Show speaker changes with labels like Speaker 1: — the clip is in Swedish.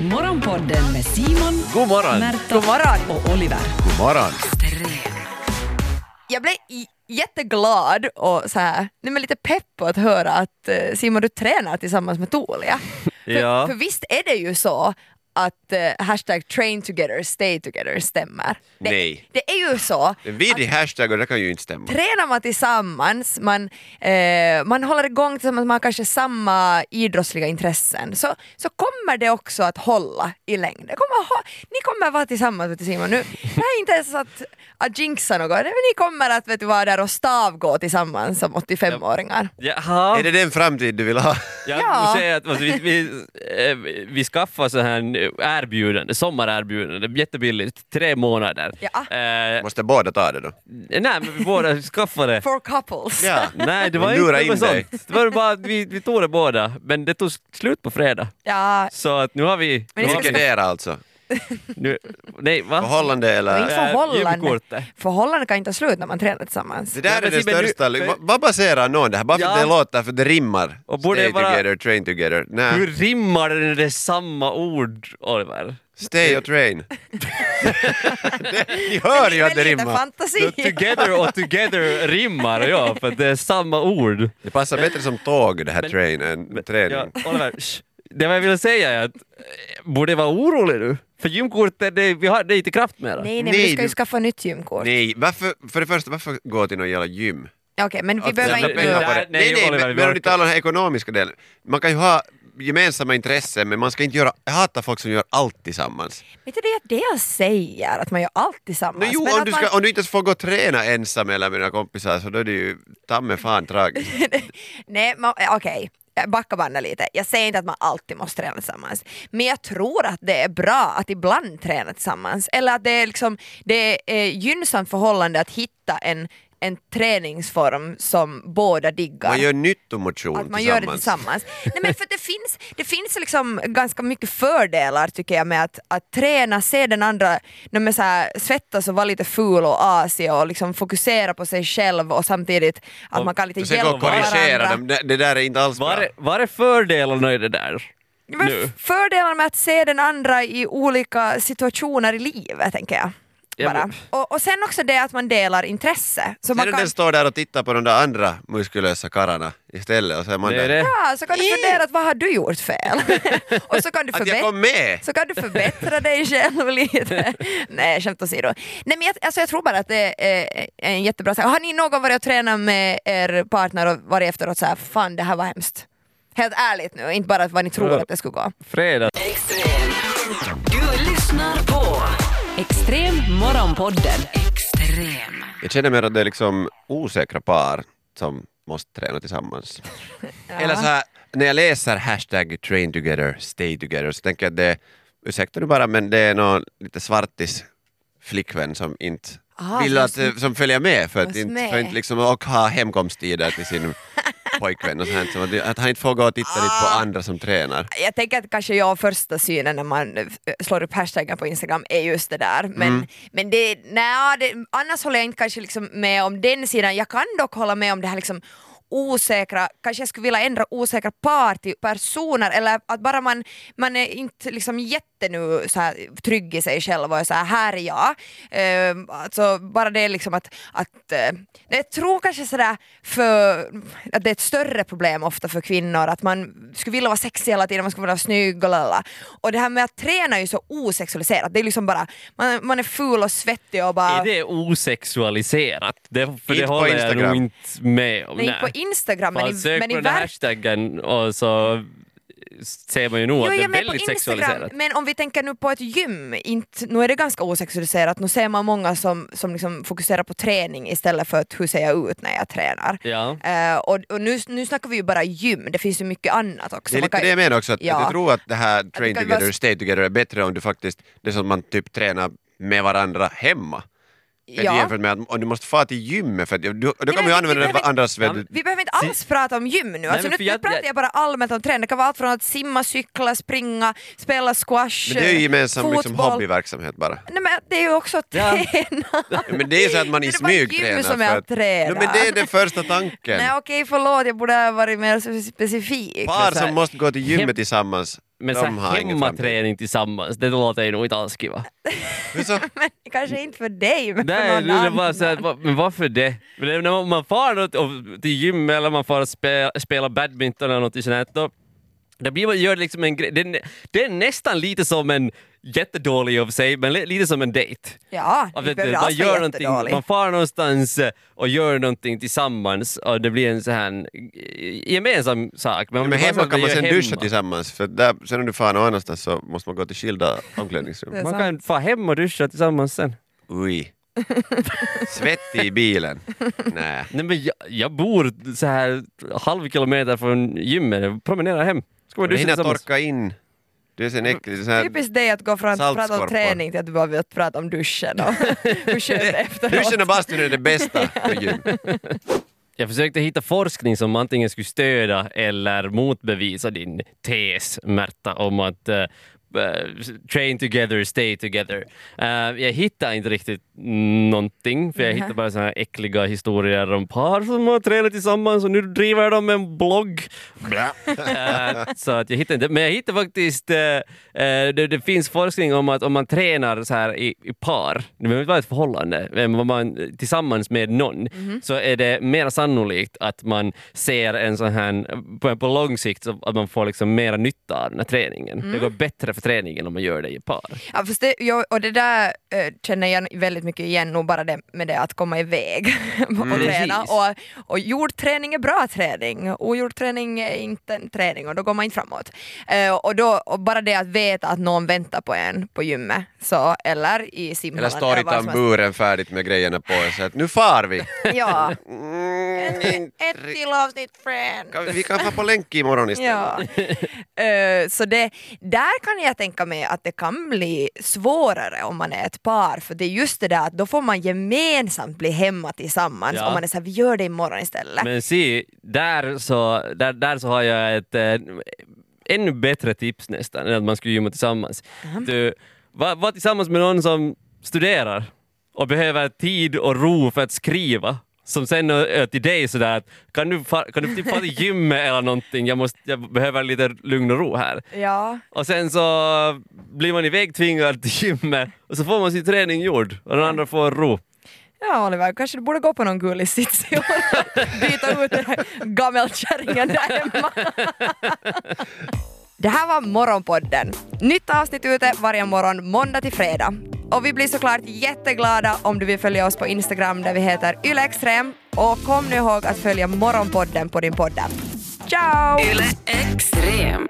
Speaker 1: Morgonpodden med Simon,
Speaker 2: God morgon!
Speaker 1: Märta
Speaker 3: God morgon.
Speaker 1: och Oliver.
Speaker 2: God morgon!
Speaker 3: Jag blev j- jätteglad och så här, nej men lite pepp på att höra att eh, Simon du tränar tillsammans med Tuulia. För,
Speaker 2: Ja.
Speaker 3: för visst är det ju så att eh, hashtag train together, stay together stämmer? Det,
Speaker 2: Nej.
Speaker 3: Det är ju så.
Speaker 2: En vidrig hashtag och det kan ju inte stämma.
Speaker 3: Tränar man tillsammans, man, eh, man håller igång tillsammans, man har kanske samma idrottsliga intressen, så, så kommer det också att hålla i längden. Det Kommer ha, ni kommer vara tillsammans, vet du Simon, nu, det här är inte ens att, att jinxa något, men ni kommer att vet du, vara där och stavgå tillsammans som 85-åringar.
Speaker 4: Jaha,
Speaker 2: Är det den framtid du vill ha?
Speaker 4: jag
Speaker 3: Ja.
Speaker 4: måste säga att alltså, vi, vi, eh, vi skaffar så här erbjudande, sommarerbjudande, jättebilligt, tre månader.
Speaker 3: Ja.
Speaker 4: Eh,
Speaker 2: Måste båda ta det då?
Speaker 4: nej, men vi båda skaffade
Speaker 3: For couples.
Speaker 2: Ja.
Speaker 4: Nej, det var
Speaker 2: Men
Speaker 4: inte
Speaker 2: lura
Speaker 4: det var
Speaker 2: in dig.
Speaker 4: sånt. Det var bara att vi, vi tog det båda, men det tog slut på fredag.
Speaker 3: Ja,
Speaker 4: Så att nu har vi...
Speaker 3: Men
Speaker 4: nu
Speaker 3: det
Speaker 4: har vi
Speaker 3: ska-
Speaker 2: Vilkedera alltså?
Speaker 4: nu, nej, va?
Speaker 2: Förhållande
Speaker 3: Ring.
Speaker 2: eller?
Speaker 4: Eh,
Speaker 3: förhållande.
Speaker 4: julkortet.
Speaker 3: förhållandet kan inte ta slut när man tränar tillsammans.
Speaker 2: Det
Speaker 4: Ja,
Speaker 2: där
Speaker 4: men
Speaker 2: är det
Speaker 4: Simon, du-
Speaker 2: största.
Speaker 4: för-
Speaker 2: Va- Vad baserar någon det här? Bara för att
Speaker 4: Ja.
Speaker 2: det låter, för att det rimmar.
Speaker 4: Och borde
Speaker 2: stay
Speaker 4: det vara-
Speaker 2: together, train together.
Speaker 4: Hur
Speaker 2: Nej,
Speaker 4: rimmar det när det är samma ord, Oliver?
Speaker 2: stay och train. Ni hör ju att det
Speaker 3: Men lite
Speaker 2: rimmar.
Speaker 3: Fantasi.
Speaker 4: Together och together rimmar, ja, för att det är samma ord.
Speaker 2: Det passar bättre som tåg det här
Speaker 4: Men-
Speaker 2: train än
Speaker 4: Ja,
Speaker 2: träning.
Speaker 4: Oliver, shh. det jag ville säga är att eh, borde vara orolig nu, för gymkortet, det, vi har, det är inte i kraft mera.
Speaker 3: Nej, nej, men
Speaker 2: Nej,
Speaker 3: du ska ju
Speaker 2: du-
Speaker 3: skaffa nytt gymkort. Okej,
Speaker 2: Nej, varför, för det första, varför gå till någon jävla gym?
Speaker 3: men vi
Speaker 2: Att
Speaker 3: behöver
Speaker 2: lägga
Speaker 3: inte...
Speaker 2: pengar på det.
Speaker 4: Nej,
Speaker 2: Nej, nej,
Speaker 4: Oliver, vi
Speaker 2: men, men om du
Speaker 4: orkar.
Speaker 2: talar om den här ekonomiska delen. Man kan ju ha gemensamma intressen men man ska inte göra, jag hatar folk som gör allt tillsammans.
Speaker 3: Vet du, det är det jag säger, att man gör allt
Speaker 2: No,
Speaker 3: tillsammans.
Speaker 2: jo,
Speaker 3: Men
Speaker 2: om
Speaker 3: att
Speaker 2: du,
Speaker 3: man-
Speaker 2: ska, om du inte ens får gå och träna ensam eller med dina kompisar så då är det ju ta mig fan tragiskt.
Speaker 3: Nej, man- eh, okej. Backa bandet lite. Jag säger inte att man alltid måste träna tillsammans. Men jag tror att det är bra att ibland träna tillsammans. Eller att det är, liksom, det är gynnsamt förhållande att hitta en, en träningsform som båda diggar.
Speaker 2: Man gör nyttomotion
Speaker 3: att man gör det tillsammans. Nej, men för det finns, det finns liksom ganska mycket fördelar tycker jag med att, att träna, se den andra när man så här, svettas och vara lite ful och asig och liksom fokusera på sig själv och samtidigt att
Speaker 4: Och
Speaker 3: man kan lite
Speaker 2: Och sen gå
Speaker 3: hjälpa
Speaker 2: och korrigera
Speaker 3: varandra.
Speaker 2: dem, det, det där är inte alls
Speaker 4: Var
Speaker 2: bra.
Speaker 4: är, var är fördelarna i det där?
Speaker 3: Men
Speaker 4: Nu.
Speaker 3: fördelarna med att se den andra i olika situationer i livet tänker jag.
Speaker 4: Ja,
Speaker 3: Bara.
Speaker 4: men-
Speaker 3: Och, och sen också det att man delar intresse. Så
Speaker 2: Sen
Speaker 3: man
Speaker 2: när
Speaker 3: kan,
Speaker 2: den står där och tittar på de där andra muskulösa karlarna istället och så är man
Speaker 4: Det
Speaker 2: där.
Speaker 4: är det.
Speaker 3: ja, Ah, så kan du fundera att vad har du gjort fel? och så kan du
Speaker 2: Att jag
Speaker 3: förbättra
Speaker 2: kom med!
Speaker 3: så kan du förbättra dig själv lite. Nej, skämt åsido. Nej, men jag, alltså, jag tror bara att det är eh, en jättebra sak. Har ni någon varit och tränat med er partner och varit efteråt så här, fan det här var hemskt? Helt ärligt nu, inte bara vad ni tror
Speaker 4: Ja.
Speaker 3: att det skulle gå.
Speaker 4: Fredag.
Speaker 1: Extrem. Du lyssnar på Extrem morgonpodden. Extrem.
Speaker 2: Jag känner mer att det är liksom osäkra par som måste träna tillsammans. Eller så här, när jag läser hashtag train together, stay together så tänker jag att det är, ursäkta nu bara, men det är någon lite svartis flickvän som inte
Speaker 3: Ah,
Speaker 2: vill
Speaker 3: som
Speaker 2: att, som följer med för att
Speaker 3: måste
Speaker 2: inte,
Speaker 3: med.
Speaker 2: för inte liksom, och ha hemkomsttider till sin pojkvän och sånt, som att, att han inte får gå och titta dit
Speaker 3: Ah.
Speaker 2: på andra som tränar.
Speaker 3: Jag tänker att kanske jag första synen när man eh, slår upp hashtaggen på Instagram är just det där. Men, men det, nja, det, annars håller jag inte kanske liksom med om den sidan. Jag kan dock hålla med om det här liksom osäkra, kanske jag skulle vilja ändra osäkra par till personer eller att bara man, man är inte liksom jätte nu så här, trygg i sig själv och är så här, här är jag. Uh, alltså bara det liksom att, att eh, jag tror kanske sådär för att det är ett större problem ofta för kvinnor att man skulle vilja vara sexig hela tiden, man skulle vilja vara snygg och lalla. Och det här med att träna är ju så osexualiserat, det är liksom bara man, man är ful och svettig och bara
Speaker 4: Är det osexualiserat? Det, för
Speaker 2: Inte
Speaker 4: det
Speaker 2: på
Speaker 4: håller jag
Speaker 2: Instagram.
Speaker 4: nog inte med om.
Speaker 3: Nej, inte på Instagram men
Speaker 4: Man
Speaker 3: i,
Speaker 4: söker
Speaker 3: men
Speaker 4: på
Speaker 3: i
Speaker 4: den här
Speaker 3: verkligheten
Speaker 4: hashtaggen och så ser man ju nog att det
Speaker 3: Jo,
Speaker 4: är
Speaker 3: jag menar på
Speaker 4: väldigt
Speaker 3: Instagram,
Speaker 4: sexualiserat.
Speaker 3: men om vi tänker nu på ett gym, inte, nu är det ganska osexualiserat, nu ser man många som, som liksom fokuserar på träning istället för att hur ser jag ut när jag tränar.
Speaker 4: Ja.
Speaker 3: Eh, och och nu, nu snackar vi ju bara gym, det finns ju mycket annat också.
Speaker 2: Det är
Speaker 3: Man
Speaker 2: lite
Speaker 3: kan-
Speaker 2: det jag menar också, att,
Speaker 3: Ja.
Speaker 2: att jag tror att det här train
Speaker 3: kan
Speaker 2: together,
Speaker 3: vara-
Speaker 2: stay together är bättre om du faktiskt, det är som man typ tränar med varandra hemma.
Speaker 3: Ja.
Speaker 2: Ja. Jämfört med att om du måste fara till gymmet, för att, du, då
Speaker 3: men
Speaker 2: kommer
Speaker 3: vi
Speaker 2: ju använda
Speaker 3: behöver-
Speaker 2: den andras
Speaker 4: Ja,
Speaker 2: vä-
Speaker 3: Vi behöver inte alls prata om gym nu, alltså,
Speaker 4: men
Speaker 3: nu,
Speaker 4: för
Speaker 3: nu
Speaker 4: jag-
Speaker 3: pratar jag,
Speaker 4: jag-
Speaker 3: bara allmänt om träning. Det kan vara allt från att simma, cykla, springa, spela squash,
Speaker 2: Men det är ju gemensam
Speaker 3: fotboll.
Speaker 2: liksom, hobbyverksamhet bara.
Speaker 3: Nej men det är ju också att
Speaker 4: Ja.
Speaker 3: träna.
Speaker 2: Ja, Men det är ju så att man
Speaker 3: Det
Speaker 2: i
Speaker 3: är bara
Speaker 2: smyg
Speaker 3: gym
Speaker 2: tränar.
Speaker 3: som
Speaker 2: för
Speaker 3: är
Speaker 2: att-
Speaker 3: att träna.
Speaker 2: Jo, men det är den första tanken.
Speaker 3: Nej okej förlåt, jag borde ha varit mer specifik.
Speaker 2: Par
Speaker 3: Så här-
Speaker 2: som måste gå till
Speaker 4: Hem-
Speaker 2: gymmet tillsammans
Speaker 4: Men
Speaker 2: De
Speaker 4: så
Speaker 2: har
Speaker 4: här
Speaker 2: ingen
Speaker 4: hemmaträning tillsammans, det låter ju nog inte alls kiva.
Speaker 2: Hur så?
Speaker 3: Men kanske inte för dig men för
Speaker 4: Nej,
Speaker 3: någon
Speaker 4: det
Speaker 3: annan.
Speaker 4: var så här, va- men varför det? Men det- när man far då till- till gym eller man far och spela, spela badminton eller något sånt här, då, då blir man, gör det liksom en grej. Det, är nä- det är nästan lite som en jättedålig i och för sig, men li- lite som en dejt.
Speaker 3: ja,
Speaker 4: Ja,
Speaker 3: det
Speaker 4: vet
Speaker 3: behöver
Speaker 4: du,
Speaker 3: alls
Speaker 4: man,
Speaker 3: vara
Speaker 4: gör någonting,
Speaker 3: jättedåligt.
Speaker 4: man far någonstans eh, och gör någonting tillsammans och det blir en så här eh, gemensam sak. om
Speaker 2: Men
Speaker 4: det bara så
Speaker 2: hemma
Speaker 4: att
Speaker 2: kan man
Speaker 4: gör
Speaker 2: sen
Speaker 4: hemma.
Speaker 2: duscha tillsammans, för där, sen om du far någon annanstans så måste man gå till skilda omklädningsrum.
Speaker 3: Det är
Speaker 4: Man
Speaker 3: sant.
Speaker 4: kan fara hem och duscha tillsammans sen.
Speaker 2: Ui. Svettig i bilen. Nej.
Speaker 4: Nej, men jag, jag bor så här halv kilometer från gymmet, jag promenerar hem. Ska man
Speaker 2: Du
Speaker 4: duscha
Speaker 2: hinner
Speaker 4: tillsammans?
Speaker 2: torka in. Du är sen äcklig. Så här,
Speaker 3: Typiskt dig att gå från att prata om
Speaker 2: Saltskorpor.
Speaker 3: träning till att du bara vill prata om duschen och hur skönt det är efteråt.
Speaker 2: duschen och bastun är det bästa på gym.
Speaker 4: Jag försökte hitta forskning som antingen skulle stödja eller motbevisa din tes, Märta, om att eh, eh, train together, stay together. Eh, jag hittade inte riktigt någonting, för jag
Speaker 3: Mhm.
Speaker 4: hittade bara såna här äckliga historier om par som har tränat tillsammans och nu driver de en blogg.
Speaker 2: Bra.
Speaker 4: Eh, så att jag hittar inte. Men jag hittar faktiskt, eh, eh, det, det finns forskning om att om man tränar så här i, i par, det behöver inte vara ett förhållande, men om man eh, tillsammans med någon, så är det mer sannolikt att man ser en sån här, på, på lång sikt, så att man får liksom mera nytta av den här träningen. Det går bättre för träningen om man gör det i par.
Speaker 3: Ja, fast det, jag, och det där eh, känner jag väldigt mycket igen, nog bara det med det att komma iväg och träna.
Speaker 4: Mm. Precis.
Speaker 3: Och, och gjord träning är bra träning, ogjord träning är inte en träning och då går man inte framåt. Eh, och, då, och bara det att veta att någon väntar på en på gymmet, så, eller i simhallen.
Speaker 2: Eller står i
Speaker 3: vad som helst.
Speaker 2: tamburen färdigt med grejerna på och så att nu far vi.
Speaker 3: Ja.
Speaker 2: Mm,
Speaker 3: Ett
Speaker 2: inte-
Speaker 3: till avsnitt friend!
Speaker 2: kan- vi kan få på länk imorgon istället.
Speaker 3: Ja. Eh, så det, där kan jag tänka mig att det kan bli svårare om man är ett par för det är just det där att då får man gemensamt bli hemma tillsammans
Speaker 4: Ja.
Speaker 3: om man är såhär, vi gör det imorgon istället.
Speaker 4: Men se, där så, där, där så har jag ett eh, ännu bättre tips nästan, än att man skulle gymma tillsammans. Du, var, var tillsammans med någon som studerar och behöver tid och ro för att skriva. Som sen är är till dig sådär att kan du, fa- kan du typ fara till gymmet eller någonting, jag, måste, jag behöver lite lugn och ro här.
Speaker 3: Ja.
Speaker 4: Och sen så blir man ivägtvingad till gymmet och så får man sin träning gjord och den andra får ro.
Speaker 3: ja, Oliver, kanske du borde gå på någon gullig sits i år. Byta ut den här gammelkärringen där hemma. Det här var Morgonpodden. Nytt avsnitt ute varje morgon måndag till fredag. Och vi blir såklart jätteglada om du vill följa oss på Instagram där vi heter ylextrem. Och kom nu ihåg att följa Morgonpodden på din podd. Ciao!
Speaker 1: Yle Extrem.